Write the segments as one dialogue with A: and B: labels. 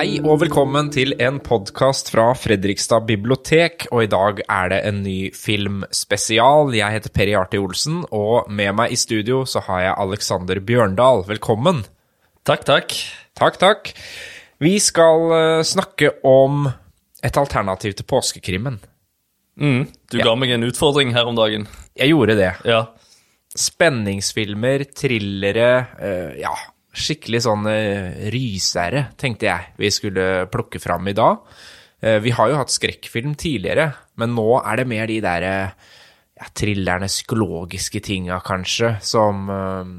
A: Hei og velkommen til en podkast fra Fredrikstad bibliotek, og i dag er det en ny filmspesial. Jeg heter Per Jarti Olsen, og med meg i studio så har jeg Alexander Bjørndal. Velkommen.
B: Takk, takk.
A: Takk, takk. Vi skal eh, snakke om et alternativ til påskekrimmen.
B: Mm. Du ga meg en utfordring her om dagen.
A: Jeg gjorde det.
B: Ja.
A: Spenningsfilmer, thrillere, eh, ja, skikkelig sånne rysere, tenkte jeg vi skulle plukke fram i dag. Eh, vi har jo hatt skrekkfilm tidligere, men nå er det mer de der eh, ja, thrillerne, psykologiske tinga kanskje, som eh,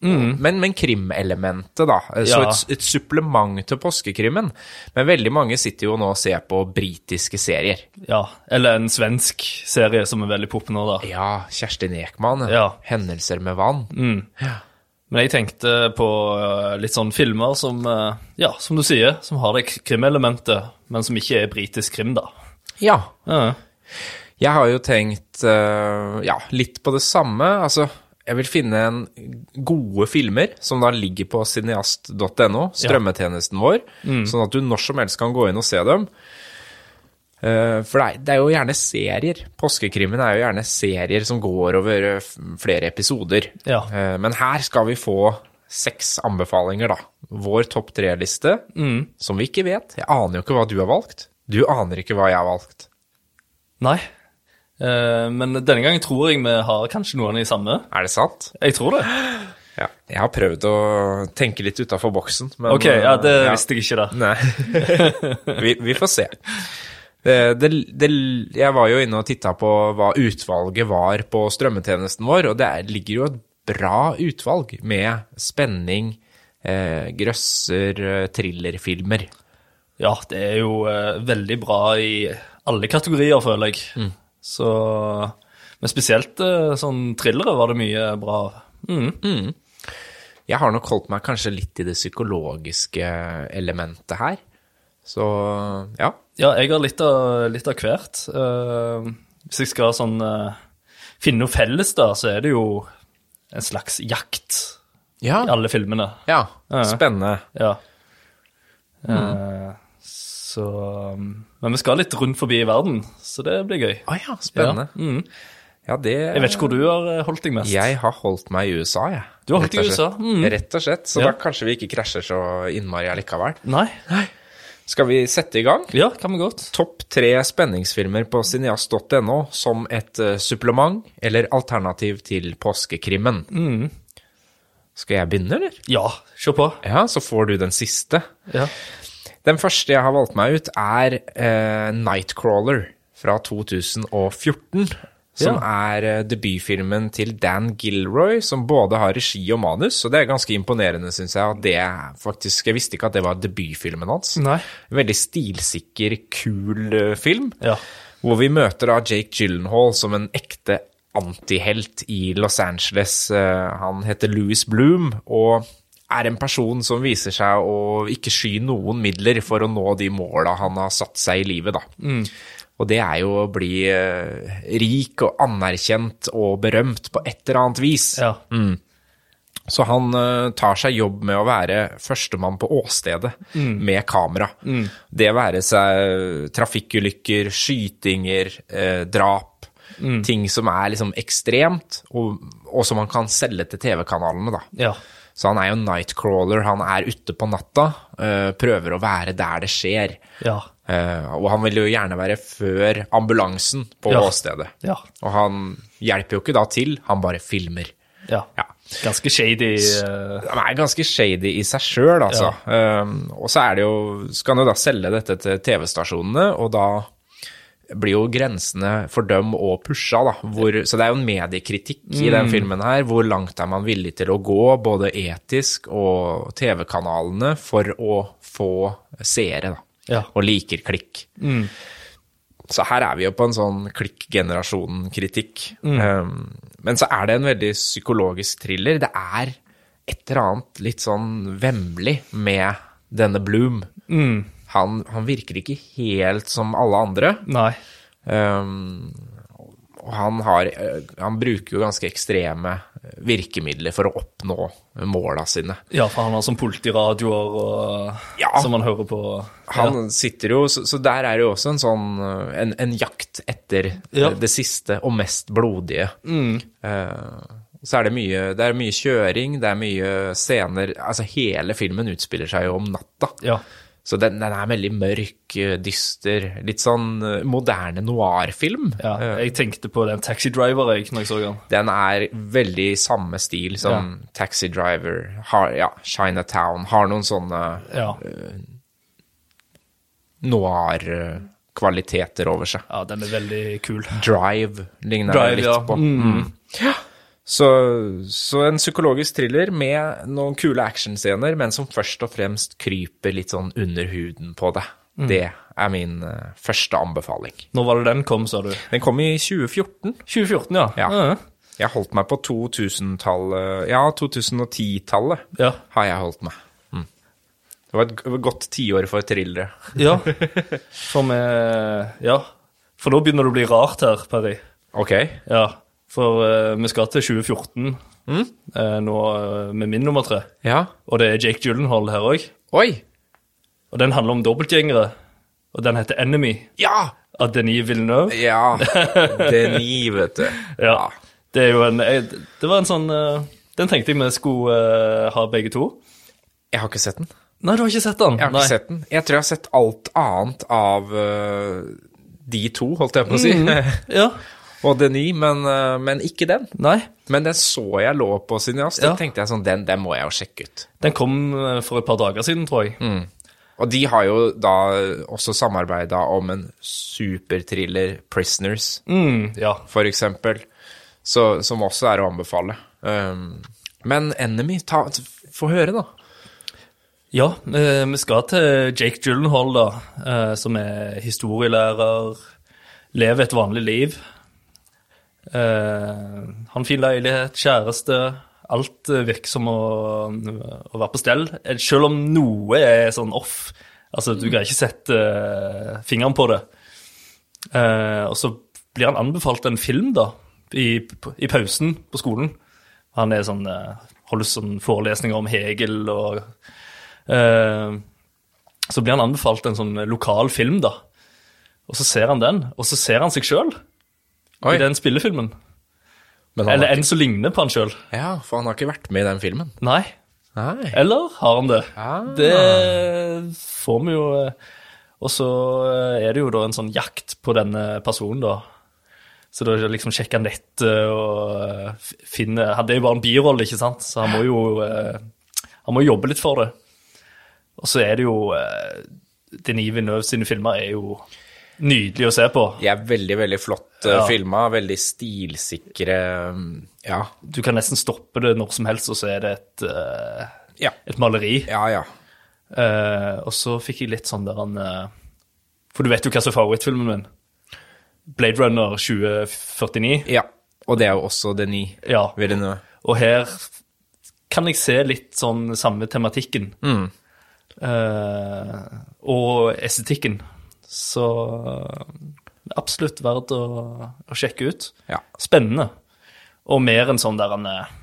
A: Men, men krimelementet, da. Eh, Så
B: Mm. Ja.
A: et, et supplement til påskekrimmen. Men veldig mange sitter jo nå og ser på britiske serier.
B: ja. Eller en svensk serie som er veldig pop nå, da.
A: Ja, Kjerstin Ekman.
B: Ja. Mm.
A: 'Hendelser med vann'.
B: Men jeg tenkte på eh, litt sånn filmer som, eh, ja, som du sier, som har det k- krimelementet, men som ikke er britisk krim, da.
A: Ja,
B: Ja.
A: Jeg har jo tenkt eh, ja, litt på det samme. Altså, jeg vil finne en gode filmer, som da ligger på cineast.no, strømmetjenesten vår, sånn at du når som helst kan gå inn og se dem. Eh, for det er, det er jo gjerne serier. Påskekrimmen er jo gjerne serier som går over eh, f- flere episoder.
B: Ja.
A: Eh, men her skal vi få seks anbefalinger, da. Vår topp tre-liste, som vi ikke vet. Jeg aner jo ikke hva du har valgt. Du aner ikke hva jeg har valgt.
B: Nei. Eh, men denne gangen tror jeg vi har kanskje noen av de samme.
A: Er det sant?
B: Jeg tror det.
A: Ja. Jeg har prøvd å tenke litt utafor boksen, men
B: Ok, ja, det
A: eh,
B: visste jeg ikke, da.
A: Nei. vi, vi får se. Det, det, det, jeg var jo inne og titta på hva utvalget var på strømmetjenesten vår, og det er, ligger jo et bra utvalg med spenning, eh, grøsser, eh, thrillerfilmer.
B: Ja, det er jo eh, veldig bra i alle kategorier, føler jeg. Så Men spesielt eh, sånn thrillere var det mye bra av. Mm.
A: Jeg har nok holdt meg kanskje litt i det psykologiske elementet her. Så ja.
B: Ja, jeg har litt av, litt av hvert. Eh, hvis jeg skal sånn eh, finne noe felles, da, så er det jo en slags jakt
A: Ja.
B: i alle filmene.
A: ja.
B: Ja.
A: Spennende.
B: Ja. Eh, så Men vi skal litt rundt forbi i verden, så det blir gøy.
A: Å ja, spennende.
B: Ja, mm.
A: Ja, det
B: Jeg vet ikke hvor du har eh, holdt deg mest.
A: Jeg har holdt meg i USA, jeg.
B: Du har holdt
A: Rett
B: deg i
A: og slett.
B: USA? Mm.
A: Rett og slett. Så
B: Ja.
A: da kanskje vi ikke krasjer så innmari allikevel.
B: Nei?
A: Skal vi sette i gang?
B: Ja, kan vi godt.
A: Topp tre spenningsfilmer på cineast.no som et eh, supplement eller alternativ til påskekrimmen.
B: Mm.
A: Skal jeg begynne, eller?
B: Ja, kjør på.
A: Ja, så får du den siste.
B: Ja.
A: Den første jeg har valgt meg ut, er eh, Nightcrawler fra 2014. Som er eh, debutfilmen til Dan Gilroy, som både har regi og manus. Og det er ganske imponerende, syns jeg. At det er faktisk, jeg visste ikke at det var debutfilmen hans.
B: Nei.
A: Veldig stilsikker, kul eh, film.
B: Ja.
A: Hvor vi møter da Jake Gyllenhaal som en ekte antihelt i Los Angeles. Eh, Han heter Louis Bloom og er en person som viser seg å ikke sky noen midler for å nå de måla han har satt seg i livet, da. Og det er jo å bli eh, rik og anerkjent og berømt på et eller annet vis.
B: ja.
A: Så han eh, tar seg jobb med å være førstemann på åstedet
B: Mm.
A: med kamera. Det være seg trafikkulykker, skytinger, eh, drap.
B: Mm.
A: Ting som er liksom ekstremt, og, og som han kan selge til TV-kanalene, da.
B: Ja.
A: Så han er jo nightcrawler, han er ute på natta, eh, prøver å være der det skjer.
B: Ja.
A: Eh, og han vil jo gjerne være før ambulansen på
B: Ja.
A: åstedet.
B: Ja.
A: Og han hjelper jo ikke da til, han bare filmer.
B: ja.
A: Ja.
B: Ganske shady. eh,
A: Han er ganske shady i seg sjøl, altså. Um, og så er det jo, skal han jo da selge dette til TV-stasjonene, og da blir jo grensene for dem og pusha, da. Hvor, så det er jo en mediekritikk i den filmen her. Hvor langt er man villig til å gå, både etisk og TV-kanalene, for å få seere, da.
B: Ja.
A: Og liker klikk. Så her er vi jo på en sånn klikk-generasjonen-kritikk. Um, men så er det en veldig psykologisk thriller. Det er et eller annet litt sånn vemmelig med denne Bloom. Han, han virker ikke helt som alle andre.
B: Nei.
A: Um, og Og han, har, eh, han bruker jo ganske ekstreme virkemidler for å oppnå måla sine.
B: Ja, for han har sånn politiradioer og,
A: Ja.
B: som han hører på.
A: Han sitter jo, så, så der er det jo også en sånn eh, en, en jakt etter eh,
B: Ja. Mm.
A: det siste og mest blodige. Eh, så er det mye, det er mye kjøring, det er mye scener Altså hele filmen utspiller seg jo om natta.
B: Ja.
A: Så den, den er veldig mørk, eh, dyster, litt sånn eh, moderne noir-film.
B: Ja, jeg tenkte på den Taxi Driver jeg, når jeg så den.
A: Den er veldig samme stil som Taxi Driver, har, ja, Chinatown, har noen sånne
B: Ja,
A: noir-kvaliteter eh, over seg.
B: ja den er veldig kul.
A: Drive ligner
B: Drive,
A: det litt
B: ja.
A: på. Mm. Så, så en psykologisk thriller med noen kule actionscener, men som først og fremst kryper litt sånn under huden på deg. Det er min eh, første anbefaling.
B: Når var det den kom, sa du?
A: Den kom i 2014.
B: 2014, ja.
A: Ja.
B: Ja,
A: Jeg holdt meg på 2000-tallet Ja, 2010-tallet
B: Ja.
A: har jeg holdt meg. Mm. Det var et g- godt tiår for thrillere.
B: ja. For vi Ja. For nå begynner det å bli rart her, Perry.
A: Ok.
B: Ja. For eh, vi skal til 2014 eh, nå eh, med min nummer tre.
A: Ja.
B: Og det er Jake Gyllenhaal her òg.
A: Oi!
B: Og den handler om dobbeltgjengere. Og den heter Enemy
A: Ja!
B: av Denis Villeneuve.
A: Ja. Denis, vet du.
B: Ja. Det er jo en jeg, Det var en sånn eh, Den tenkte jeg vi skulle eh, ha begge to.
A: Jeg har ikke sett den.
B: Nei, du har ikke sett den?
A: Jeg har
B: Nei.
A: ikke sett den. Jeg tror jeg har sett alt annet av øh, de to, holdt jeg på å si,
B: Ja.
A: og Denis, men, øh, men ikke den.
B: Nei.
A: Men den så jeg lå på Cineast, da
B: Ja.
A: tenkte jeg sånn, den, den må jeg jo sjekke ut.
B: Den kom eh, for et par dager siden, tror jeg.
A: Mm. Og de har jo da også samarbeida om en superthriller, 'Prisoners',
B: Mm, ja.
A: for eksempel, så, som også er å anbefale. Um, men 'Enemy', ta, få høre, da.
B: Ja, eh, vi skal til Jake Gyllenhaal, da, eh, som er historielærer, lever et vanlig liv. Eh, Han finner leilighet, kjæreste, alt eh, virker som å, å være på stell. Eh, Selv om noe er sånn off, altså du kan ikke sette eh, fingeren på det. Eh, Og så blir han anbefalt en film, da, i, i pausen på skolen. Han er sånn, eh, holder sånn forelesninger om Hegel og Eh, så blir han anbefalt en sånn lokal film, da. Og så ser han den, og så ser han seg sjøl
A: Oi.
B: i den spillefilmen.
A: Men han
B: Eller
A: har,
B: en som ligner på han sjøl.
A: ja, for han har ikke vært med i den filmen.
B: Nei.
A: Nei.
B: Eller har han det?
A: Ah.
B: Det får vi jo eh, Og så eh, er det jo da en sånn jakt på denne personen, da. Så da liksom sjekker han nettet og eh, f- finner Han det er jo bare en birolle, ikke sant? Så han må jo eh, han må jobbe litt for det. Og så er det jo eh, Denis Villeneuve sine filmer er jo nydelig å se på.
A: De er veldig, veldig flott uh,
B: Ja.
A: filma, veldig stilsikre um, Ja.
B: Du kan nesten stoppe det når som helst, og så er det et, eh,
A: Ja,
B: et maleri.
A: ja. ja.
B: Eh, og så fikk jeg litt sånn der han eh, For du vet jo hva som er favorittfilmen min. Blade Runner 2049.
A: ja. Og det er jo også Denis
B: Ja.
A: Villeneuve.
B: Og her kan jeg se litt sånn samme tematikken.
A: Mm.
B: Eh, og estetikken. Så eh, absolutt verdt å, å sjekke ut.
A: Ja.
B: Spennende. Og mer enn sånn der han eh,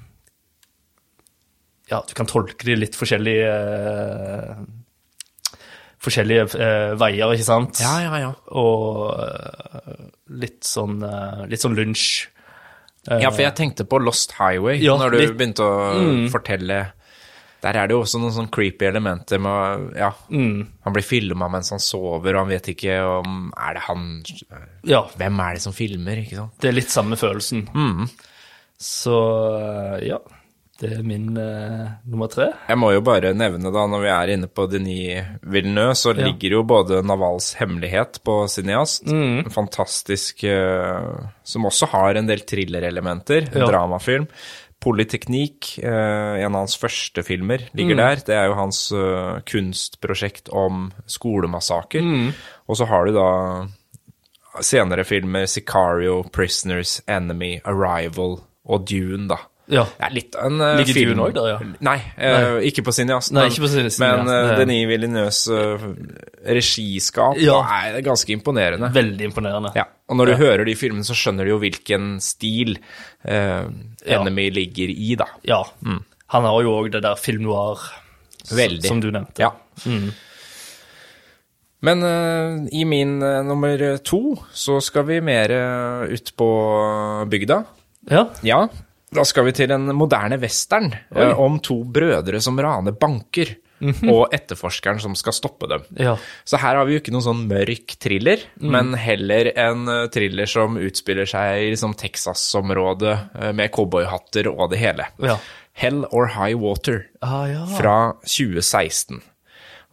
B: Ja, du kan tolke det i litt forskjellige eh, Forskjellige eh, veier, ikke sant?
A: Ja, ja, ja.
B: Og eh, litt sånn eh, Litt sånn lunsj. Eh,
A: Ja, for jeg tenkte på Lost Highway
B: Ja,
A: når du
B: litt-
A: begynte å fortelle. Der er det jo også noen sånn creepy elementer med Ja, han blir filma mens han sover, og han vet ikke om Er det han
B: Ja.
A: Hvem er det som filmer, ikke sant?
B: Det er litt samme følelsen.
A: Mm.
B: Så eh, ja. Det er min eh, nummer tre.
A: Jeg må jo bare nevne, da, når vi er inne på Denis Villeneuve, så ligger jo både Navals hemmelighet på Cineast,
B: Mm.
A: en fantastisk eh, Som også har en del thrillerelementer, en
B: Ja.
A: dramafilm. Polyteknikk, eh, en av hans første filmer,
B: Mm.
A: ligger der. Det er jo hans eh, kunstprosjekt om skolemassaker.
B: Mm.
A: Og så har du da senere filmer Sicario, Prisoners, Enemy, Arrival og Dune, da.
B: Ja.
A: Det er litt av en eh,
B: Ligger
A: film.
B: Dune også der, ja?
A: Nei, eh, ikke på Cineast.
B: Nei,
A: men-
B: ikke på Cineast,
A: Men
B: ja.
A: eh,
B: Nei.
A: Denis Villeneuves eh, regiskap
B: Ja.
A: da er ganske imponerende.
B: Veldig imponerende.
A: Ja. Og når du hører de filmene, så skjønner du jo hvilken stil eh,
B: Ja.
A: Enemy ligger i, da.
B: Ja. Han har jo òg det der film noir s-
A: Mm. Veldig.
B: som du nevnte.
A: Ja.
B: Mm.
A: Men eh, i min eh, nummer to så skal vi mer eh, ut på bygda.
B: Ja.
A: Ja, da skal vi til en moderne western eh, om to brødre som raner banker, og etterforskeren som skal stoppe dem.
B: Ja.
A: Så her har vi jo ikke noen sånn mørk thriller, men heller en eh, thriller som utspiller seg i liksom Texas-området eh, med cowboyhatter og det hele.
B: Ja.
A: Hell or High Water
B: Ah, ja.
A: fra 2016.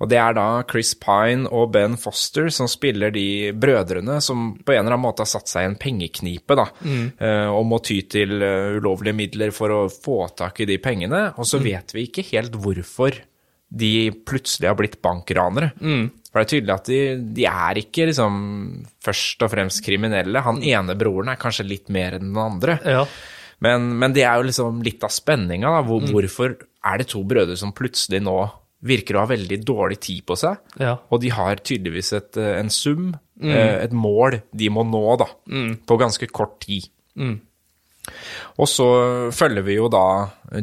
A: Og det er da Chris Pine og Ben Foster som spiller de brødrene som på en eller annen måte har satt seg i en pengeknipe, da,
B: Mm.
A: eh, og må ty til eh, ulovlige midler for å få tak i de pengene. Og
B: Mm.
A: så vet vi ikke helt hvorfor de plutselig har blitt bankranere.
B: Mm.
A: For det er tydelig at de, de er ikke liksom først og fremst kriminelle. Han ene broren er kanskje litt mer enn den andre.
B: Mm. Ja.
A: Men, men det er jo liksom litt av spenninga. da. Hvor, Hvorfor er det to brødre som plutselig nå virker å ha veldig dårlig tid på seg?
B: Ja.
A: Og de har tydeligvis et, eh, en sum, eh, et mål, de må nå da, på ganske kort tid. Og så følger vi jo da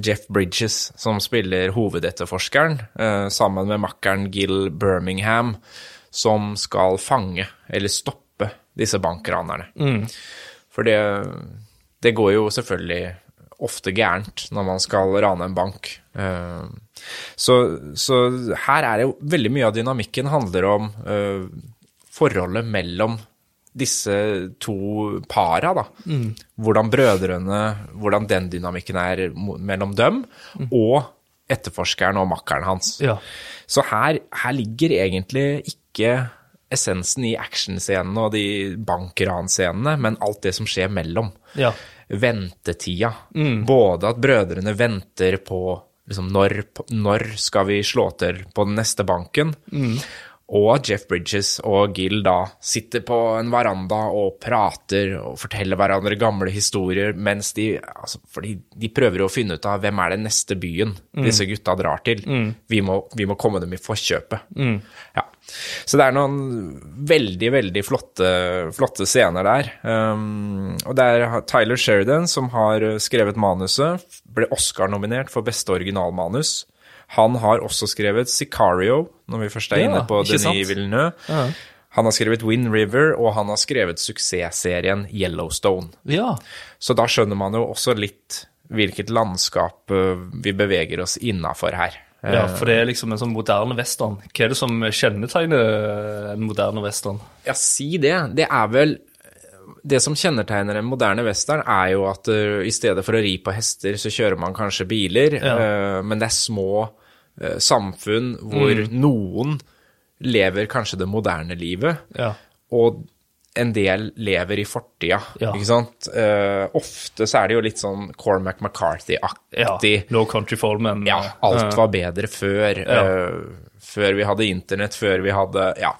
A: Jeff Bridges, som spiller hovedetterforskeren, eh, sammen med makkeren Gil Birmingham, som skal fange, eller stoppe, disse bankranerne. For det, det går jo selvfølgelig ofte gærent når man skal rane en bank. Eh, Så, så her er det jo veldig mye av dynamikken handler om eh, forholdet mellom disse to para, da. Hvordan brødrene, hvordan den dynamikken er mo- mellom dem, og etterforskeren og makkeren hans.
B: Ja.
A: Så her, her ligger egentlig ikke essensen i actionscenene og de bankranscenene, men alt det som skjer mellom.
B: Ja.
A: Ventetida. Både at brødrene venter på liksom, når, når skal vi slå til på den neste banken, og at Jeff Bridges og Gil da sitter på en veranda og prater og forteller hverandre gamle historier, mens de, altså, fordi de prøver å finne ut av hvem er den neste byen
B: Mm.
A: disse gutta drar til. Vi, må, vi må komme dem i forkjøpet.
B: Mm.
A: Ja. Så det er noen veldig, veldig flotte, flotte scener der. Um, og det er Tyler Sheridan som har skrevet manuset, ble Oscar-nominert for beste originalmanus. Han har også skrevet Sicario, når vi først er
B: Ja,
A: inne på
B: ikke sant?
A: Denis Villeneuve. Han har skrevet Wind River, og han har skrevet suksessserien Yellowstone.
B: ja.
A: Så da skjønner man jo også litt hvilket landskap eh, vi beveger oss innafor her. Eh,
B: Ja, for det er liksom en sånn moderne western. Hva er det som kjennetegner en moderne western?
A: Ja, si det. Det er vel Det som kjennetegner en moderne western, er jo at eh, i stedet for å ri på hester, så kjører man kanskje biler. eh, men det er små eh, samfunn hvor
B: Mm.
A: noen lever kanskje det moderne livet,
B: Ja.
A: og en del lever i fortida,
B: Ja.
A: ikke sant? Eh, ofte så er det jo litt sånn Cormac
B: Ja,
A: McCarthy-aktig.
B: No Country for Men. eh,
A: Ja, alt var bedre før. eh, før vi hadde internett, før vi hadde Ja.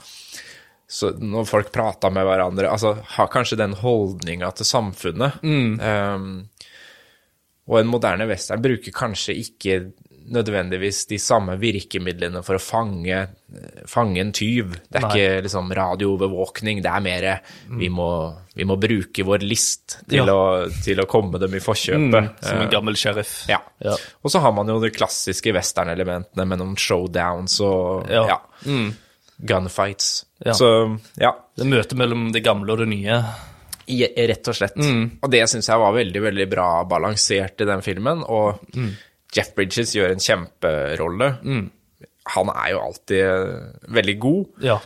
A: Så når folk prata med hverandre Altså, har kanskje den holdninga til samfunnet.
B: Mm.
A: Eh, og en moderne western bruker kanskje ikke nødvendigvis de samme virkemidlene for å fange, fange en tyv. Det er
B: Nei. Mm.
A: ikke liksom radioovervåkning, det er mer vi, må, vi må bruke vår list til,
B: Ja. Mm.
A: å, til å komme dem i forkjøpet.
B: Som en gammel sheriff.
A: Ja.
B: Ja.
A: Og så har man jo de klassiske western-elementene med noen showdowns og
B: Ja. Mm.
A: ja. gunfights.
B: Ja.
A: Så ja,
B: Det er møtet mellom det gamle og det nye.
A: i, rett og slett. Mm. Og det syns jeg var veldig, veldig bra balansert i den filmen. Og
B: Mm.
A: Jeff Bridges gjør en kjemperolle. Han er jo alltid eh, veldig god.
B: Ja.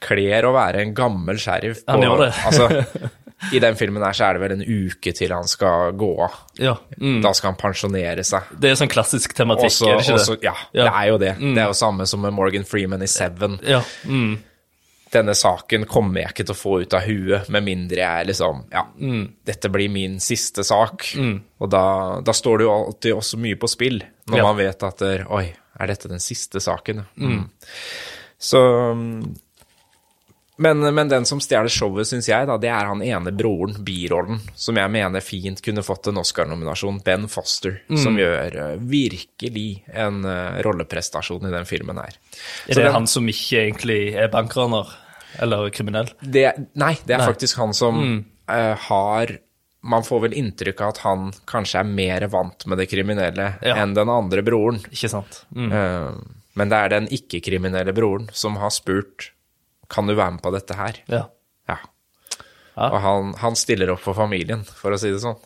A: Kler å være en gammel sheriff.
B: Han gjør det.
A: altså, I den filmen her så er det vel en uke til han skal gå av.
B: ja. Mm.
A: Da skal han pensjonere seg.
B: Det er sånn klassisk tematikk,
A: Også,
B: er det Mm. ikke
A: også,
B: det?
A: ja, det er jo det. Det er jo samme som med Morgan Freeman i Seven.
B: Ja. Mm.
A: Denne saken kommer jeg ikke til å få ut av huet, med mindre jeg liksom Ja, dette blir min siste sak. Og da, da står det jo alltid også mye på spill, når
B: Ja.
A: man vet at eh, Oi, er dette den siste saken? Mm. Så mm, men, men den som stjeler showet, syns jeg, da, det er han ene broren, birollen, som jeg mener fint kunne fått en Oscar-nominasjon, Ben Foster, som gjør eh, virkelig en eh, rolleprestasjon i den filmen her. Så
B: Er det
A: den-
B: han som ikke egentlig er bankraner? Eller kriminell.
A: Det, nei, det er faktisk han som
B: Mm.
A: eh, har Man får vel inntrykk av at han kanskje er mer vant med det kriminelle
B: Ja.
A: enn den andre broren.
B: Ikke sant? Mm.
A: Eh, men det er den ikke-kriminelle broren som har spurt Kan du være med på dette her.
B: Ja.
A: Ja.
B: Ja.
A: Og han, han stiller opp for familien, for å si det sånn.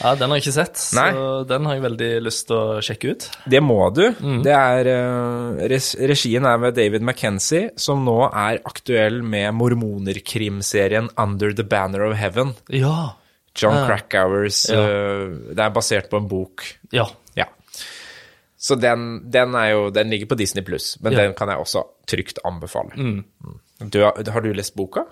B: ja, den har jeg ikke sett, så
A: Nei.
B: den har jeg veldig lyst til å sjekke ut.
A: Det må du.
B: Mm.
A: Det er, eh, res- regien er ved David McKenzie, som nå er aktuell med mormonerkrimserien Under the Banner of Heaven.
B: Ja.
A: John
B: Ja.
A: Krakauers
B: Ah. Ja.
A: eh, Det er basert på en bok.
B: Ja.
A: Ja. Så den, den, er jo, den ligger på Disney pluss, men
B: Ja.
A: den kan jeg også trygt anbefale. Mm. Du, har har du lest boka?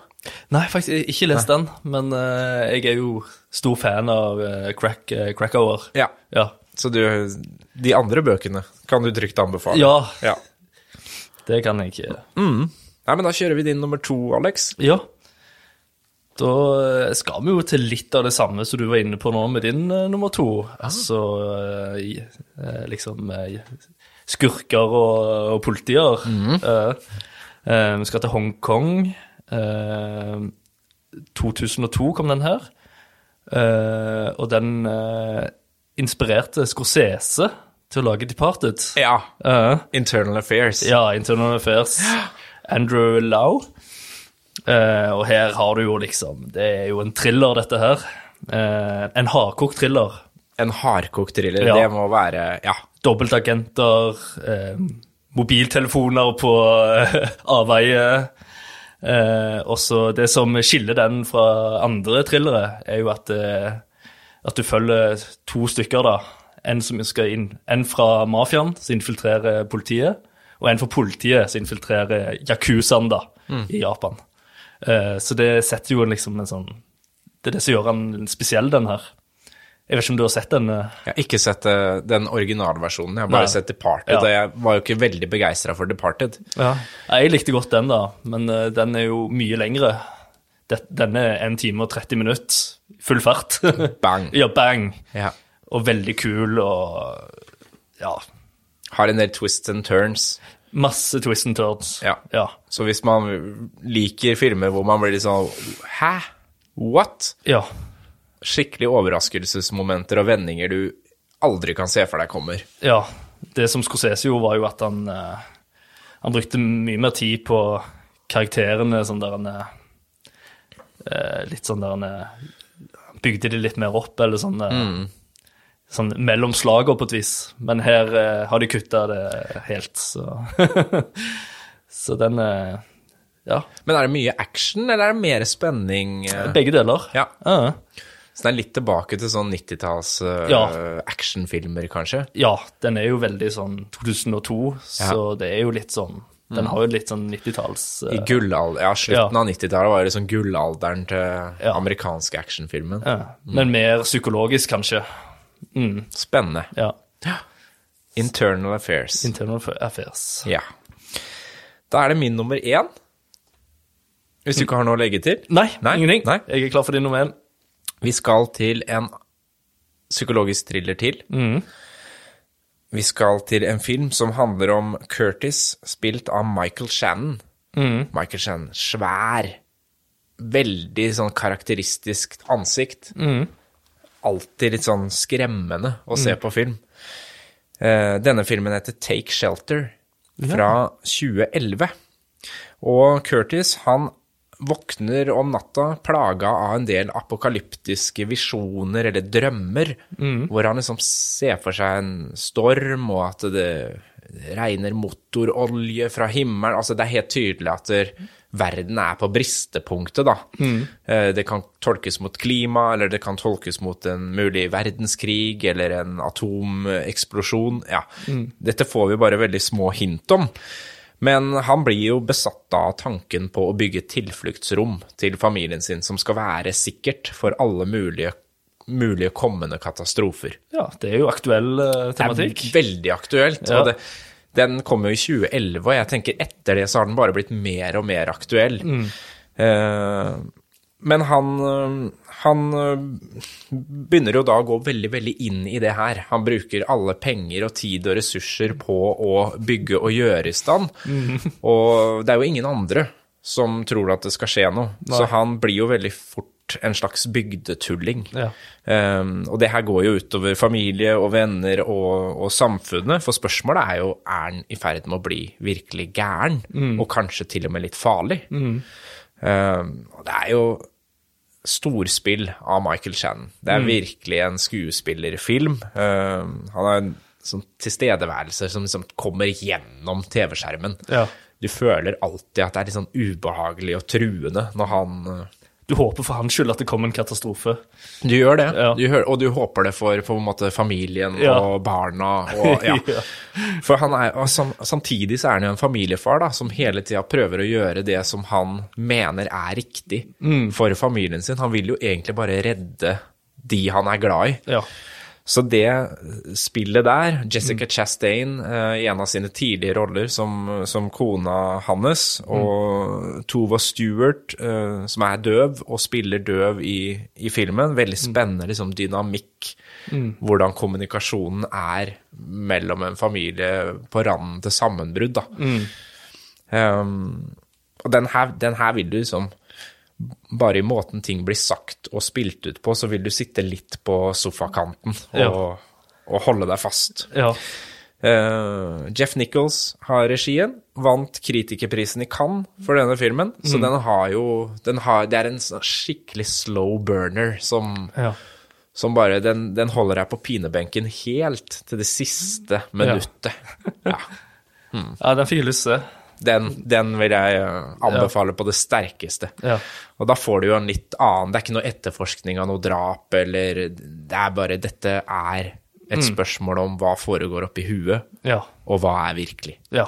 B: Nei, faktisk jeg har ikke lest den, men eh, jeg er jo stor fan av eh, crack, eh, Crackover.
A: Ja.
B: Ja.
A: Så du, de andre bøkene kan du trygt anbefale?
B: Ja.
A: ja.
B: Det kan jeg ikke
A: Nei, men da kjører vi din nummer to, Alex.
B: Ja. Da eh, skal vi jo til litt av det samme som du var inne på nå med din eh, nummer to. Altså eh, i- eh, liksom eh, skurker og, og politier. Eh, eh, vi skal til Hongkong. Eh, 2002 kom den her. Eh, og den eh, inspirerte Scorsese til å lage Departed.
A: Ja.
B: Eh,
A: Internal Affairs.
B: ja, Internal Affairs. Andrew Lau. Eh, og her har du jo liksom Det er jo en thriller, dette her. Eh, en hardkokt thriller.
A: En hardkokt thriller.
B: Ja.
A: Det må være Ja.
B: Dobbeltagenter, eh, mobiltelefoner på eh, avveie. Eh, også det som skiller den fra andre thrillere, er jo at, eh, at du følger to stykker, da. En som skal inn, en fra mafiaen som infiltrerer politiet, og en fra politiet som infiltrerer yakuzaen da, i Japan. Eh, så det setter jo en liksom en sånn Det er det som gjør han spesiell, den her. Jeg vet ikke om du har sett den? eh?
A: Jeg har ikke sett eh, den originalversjonen, jeg har bare
B: Nei.
A: sett Departed.
B: Ja.
A: Og jeg var jo ikke veldig begeistra for Departed.
B: Ja. Jeg likte godt den, da, men eh, den er jo mye lengre. Det- Denne er 1 time og 30 minutter, full fart.
A: Bang.
B: ja, bang.
A: Ja.
B: Og veldig kul og ja,
A: Har en del twists and turns.
B: masse twist and turns.
A: Ja.
B: Ja.
A: Så hvis man liker filmer hvor man blir litt sånn Hæ? What?
B: ja.
A: Skikkelig overraskelsesmomenter og vendinger du aldri kan se for deg kommer.
B: Ja. Det som Scorsese gjorde, var jo at han, eh, han brukte mye mer tid på karakterene. sånn der han eh, Litt sånn der han eh, bygde de litt mer opp, eller sånn, eh,
A: Mm.
B: sånn mellom slaga på et vis. Men her eh, har de kutta det helt, så Så den eh, Ja.
A: Men er det mye action, eller er det mer spenning? eh?
B: Begge deler.
A: Ja.
B: Ja.
A: Så den er litt tilbake til sånn 90-talls eh,
B: Ja.
A: actionfilmer, kanskje?
B: Ja, den er jo veldig sånn 2002, så det er jo litt sånn Den
A: Mm.
B: har jo litt sånn 90-talls eh,
A: I gullalder, ja, slutten
B: Ja.
A: av 90-tallet var det sånn gullalderen til
B: Ja.
A: amerikanske actionfilmen.
B: Ja, men mer psykologisk, kanskje. Mm,
A: Spennende.
B: ja.
A: Internal Affairs.
B: Internal affairs.
A: ja. Da er det min nummer én. Hvis du ikke har noe å legge til.
B: Nei,
A: Nei,
B: ingenting.
A: nei.
B: Jeg er klar for din nummer én.
A: Vi skal til en psykologisk thriller til. Vi skal til en film som handler om Curtis, spilt av Michael Shannon. Michael Shannon, svær, veldig sånn karakteristisk ansikt. Alltid litt sånn skremmende å se på film. Eh, denne filmen heter Take Shelter fra 2011. Og Curtis, han våkner om natta plaga av en del apokalyptiske visjoner eller drømmer, hvor han liksom ser for seg en storm, og at det regner motorolje fra himmelen. Altså, det er helt tydelig at der, verden er på bristepunktet, da. Eh, Det kan tolkes mot klima, eller det kan tolkes mot en mulig verdenskrig, eller en atomeksplosjon. Ja, dette får vi bare veldig små hint om. Men han blir jo besatt av tanken på å bygge et tilfluktsrom til familien sin som skal være sikkert for alle mulige, mulige kommende katastrofer.
B: Ja, det er jo aktuell eh,
A: Det
B: tematikk.
A: er veldig aktuelt.
B: Ja.
A: Og det, den kom jo i 2011, og jeg tenker etter det så har den bare blitt mer og mer aktuell.
B: Mm.
A: Eh, men han, eh, han eh, begynner jo da å gå veldig, veldig inn i det her. Han bruker alle penger og tid og
B: Mm.
A: ressurser på å bygge og gjøre i stand. Og det er jo ingen andre som tror at det skal skje noe. Så han blir jo veldig fort en slags bygdetulling.
B: Ja.
A: Ehm, og det her går jo utover familie og venner og, og samfunnet, for spørsmålet er jo er han i ferd med å bli virkelig gæren, og kanskje til og med litt farlig. Ehm, og det er jo storspill av Michael Shannon. Det er virkelig en skuespillerfilm. Ehm, han har en sånn tilstedeværelse som liksom kommer gjennom TV-skjermen.
B: Ja.
A: Du føler alltid at det er litt sånn ubehagelig og truende når han eh,
B: Du håper for hans skyld at det kom en katastrofe.
A: du gjør det,
B: Ja.
A: du hører, og du håper det for på en måte familien
B: Ja.
A: og barna. Og, ja.
B: Ja.
A: For han er, og sam, samtidig så er han jo en familiefar da, som hele tida prøver å gjøre det som han mener er riktig
B: Mm.
A: for familien sin. Han vil jo egentlig bare redde de han er glad i.
B: Ja.
A: Så det spillet der, Jessica Chastain eh, i en av sine tidlige roller som, som kona hans, og Tova Stewart, eh, som er døv og spiller døv i, i filmen, veldig spennende liksom, dynamikk. Hvordan kommunikasjonen er mellom en familie på randen til sammenbrudd. Da. Um, og den her, den her vil du liksom Bare i måten ting blir sagt og spilt ut på, så vil du sitte litt på sofakanten og,
B: Ja.
A: og holde deg fast.
B: Ja.
A: Eh, Jeff Nichols har regien, vant kritikerprisen i Cannes for denne filmen, så
B: Mm.
A: den har jo den har, Det er en sånn skikkelig slow burner som,
B: Ja.
A: som bare den, den holder deg på pinebenken helt til det siste minuttet. Ja.
B: ja den fikk jeg lyst til å se.
A: Den, den vil jeg eh, anbefale på det sterkeste.
B: Ja.
A: Og da får du jo en litt annen Det er ikke noe etterforskning av noe drap, eller Det er bare Dette er et
B: Mm.
A: spørsmål om hva foregår oppi huet,
B: Ja.
A: og hva er virkelig.
B: Ja.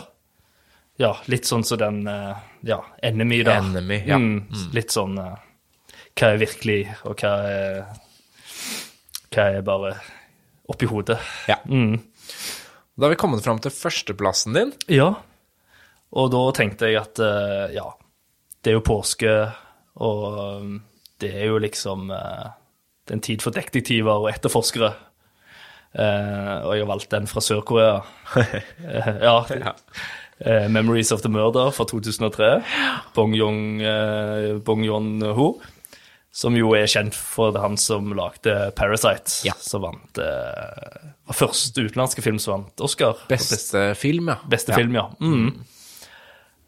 B: ja. Litt sånn som den eh, Ja, Enemy, da.
A: Enemy, ja.
B: Mm. Litt sånn eh, Hva er virkelig, og hva er Hva er bare oppi hodet.
A: Ja.
B: Mm.
A: Da har vi kommet fram til førsteplassen din.
B: Ja. Og da tenkte jeg at eh, ja, det er jo påske, og um, det er jo liksom eh, Det er en tid for detektiver og etterforskere. Eh, og jeg har valgt den fra Sør-Korea. Eh, ja. Eh, 'Memories of the Murder' fra 2003. Bong Yong, eh, Bong Yon-ho. Som jo er kjent for det han som lagde 'Parasite',
A: Ja.
B: som vant eh, var første utenlandske film som vant Oscar. for
A: Beste film, ja.
B: Beste
A: ja.
B: film, ja. Mm.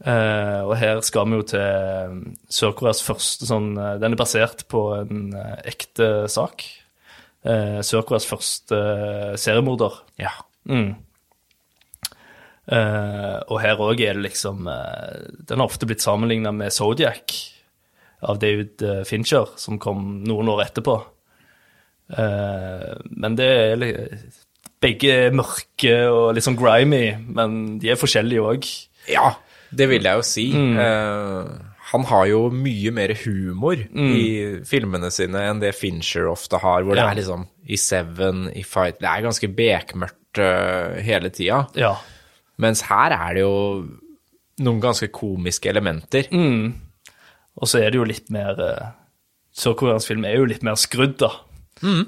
B: Eh, og her skal vi jo til mm, Sør-Koreas første sånn eh, Den er basert på en eh, ekte sak. Eh, Sør-Koreas første eh, seriemorder.
A: Ja.
B: Mm. Eh, og her òg er det liksom eh, Den har ofte blitt sammenligna med Zodiac av David eh, Fincher, som kom noen år etterpå. Eh, men det er li Begge er mørke og litt sånn grimy, men de er forskjellige òg.
A: ja. Det vil jeg jo si. Eh, han har jo mye mer humor i filmene sine enn det Fincher ofte har, hvor det
B: Ja.
A: er liksom i Seven, i Fight Det er ganske bekmørkt eh, hele tida.
B: Ja.
A: Mens her er det jo noen ganske komiske elementer.
B: Og så er det jo litt mer eh, Sør-Koreansk film er jo litt mer skrudd, da.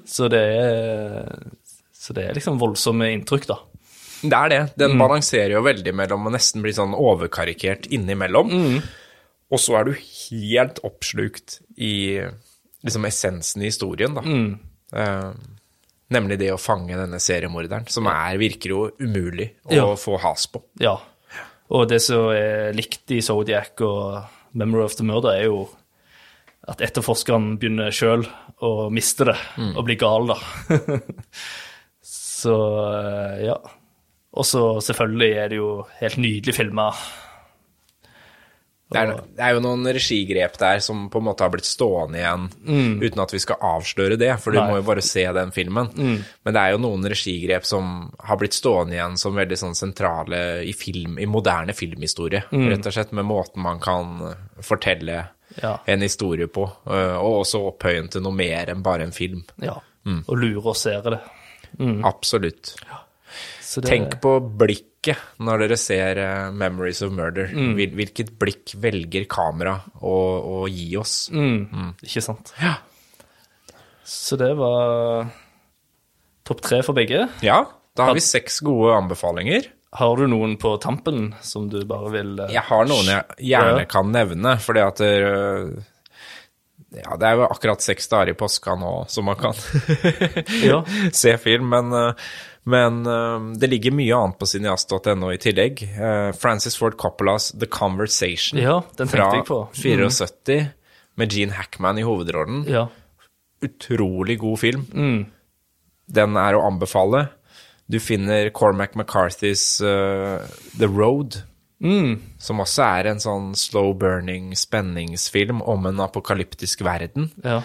B: Så, det er, så det er liksom voldsomme inntrykk, da.
A: Det er det. Den balanserer jo veldig mellom og nesten blir sånn overkarikert innimellom. Og så er du helt oppslukt i liksom essensen i historien, da. Eh, nemlig det å fange denne seriemorderen, som er, virker jo umulig å
B: Ja.
A: få has på.
B: Ja. Og det som er likt i Zodiac og Memory of the Murder, er jo at etterforskeren begynner sjøl å miste det og bli gal, da. så eh, ja. Og så selvfølgelig er det jo helt nydelig filma.
A: Det er, det er jo noen regigrep der som på en måte har blitt stående igjen, uten at vi skal avsløre det, for du
B: Mm. Nei. Mm.
A: må jo bare se den filmen. Men det er jo noen regigrep som har blitt stående igjen som veldig sånn sentrale i film, i moderne filmhistorie,
B: Mm.
A: rett og slett, med måten man kan fortelle
B: Ja.
A: en historie på, øh, og også opphøye den til noe mer enn bare en film.
B: Ja. Og lure og seere det. Mm.
A: Absolutt.
B: Så det
A: Tenk på blikket når dere ser eh, 'Memories of Murder'.
B: Mm.
A: Hvil- Hvilket blikk velger kamera å, å gi oss?
B: mm. Ikke sant.
A: Ja.
B: Så det var topp tre for begge.
A: Ja, da har vi seks gode anbefalinger.
B: Har du noen på tampen som du bare vil eh,
A: Jeg har noen jeg gjerne
B: Ja.
A: kan nevne, fordi at det, ja, det er jo akkurat seks dager i påska nå som man kan
B: Ja.
A: se film, men, eh, men eh, det ligger mye annet på cineast.no i tillegg. Eh, Francis Ford Coppolas The Conversation
B: Ja, den
A: fra
B: tenkte jeg på. Mm.
A: 74 med Gene Hackman i hovedrollen.
B: Ja.
A: Utrolig god film. Den er å anbefale. Du finner Cormac McCarthys eh, The Road, som også er en sånn slow burning spenningsfilm om en apokalyptisk verden.
B: ja.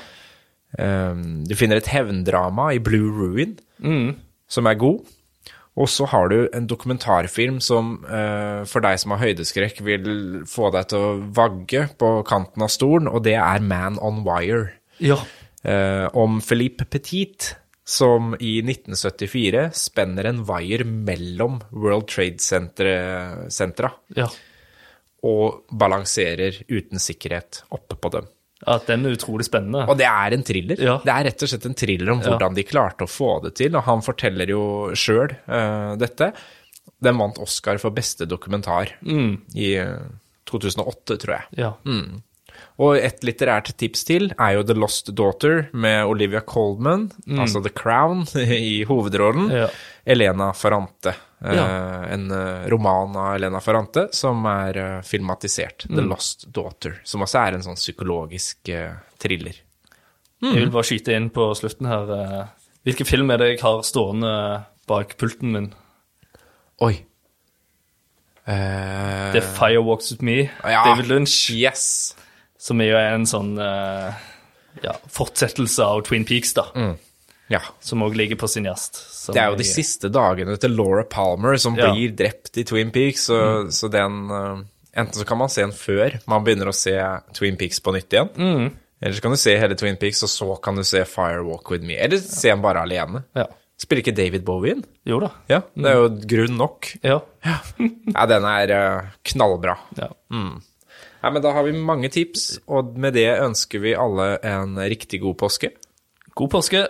A: Um, du finner et hevndrama i Blue Ruin, som er god. Og så har du en dokumentarfilm som eh, for deg som har høydeskrekk, vil få deg til å vagge på kanten av stolen, og det er Man on Wire.
B: Ja.
A: Eh, om Philippe Petit, som i 1974 spenner en wire mellom World Trade Center- sentra
B: ja.
A: og balanserer uten sikkerhet oppe på dem.
B: At den er utrolig spennende.
A: Og det er en thriller.
B: Ja.
A: Det er rett og slett en thriller om hvordan de klarte å få det til, og han forteller jo sjøl eh, dette. Den vant Oscar for beste dokumentar i eh, 2008, tror jeg.
B: Ja.
A: Mm. Og et litterært tips til er jo The Lost Daughter med Olivia Colman, altså The Crown, i hovedrollen.
B: Mm. Ja.
A: Elena Ferrante. eh,
B: Ja.
A: En eh, roman av Elena Ferrante som er eh, filmatisert.
B: Mm.
A: The Lost Daughter, som også er en sånn psykologisk eh, thriller.
B: Jeg
A: Mm.
B: vil bare skyte inn på slutten her. eh, Hvilken film er det jeg har stående bak pulten min?
A: Oi. Eh,
B: Det er 'Firewalks With Me',
A: ja.
B: David Lynch,
A: Eh, Yes!
B: som er jo en sånn eh, ja, fortsettelse av Twin Peaks, da.
A: Ja.
B: Som òg ligger på sin gjest. som
A: Mm. Det er jo de
B: jeg-
A: siste dagene til Laura Palmer som
B: Ja.
A: blir drept i Twin Peaks, så, så den eh, Enten så kan man se den før man begynner å se Twin Peaks på nytt igjen, eller så kan du se hele Twin Peaks, og så kan du se Fire Walk With Me, eller se den bare alene.
B: Ja.
A: Spiller ikke David Bowie inn?
B: Jo da.
A: Ja, det er jo grunn nok.
B: Ja.
A: Ja, den er eh, knallbra. Mm.
B: ja.
A: Nei, men da har vi mange tips, og med det ønsker vi alle en riktig god påske.
B: God påske.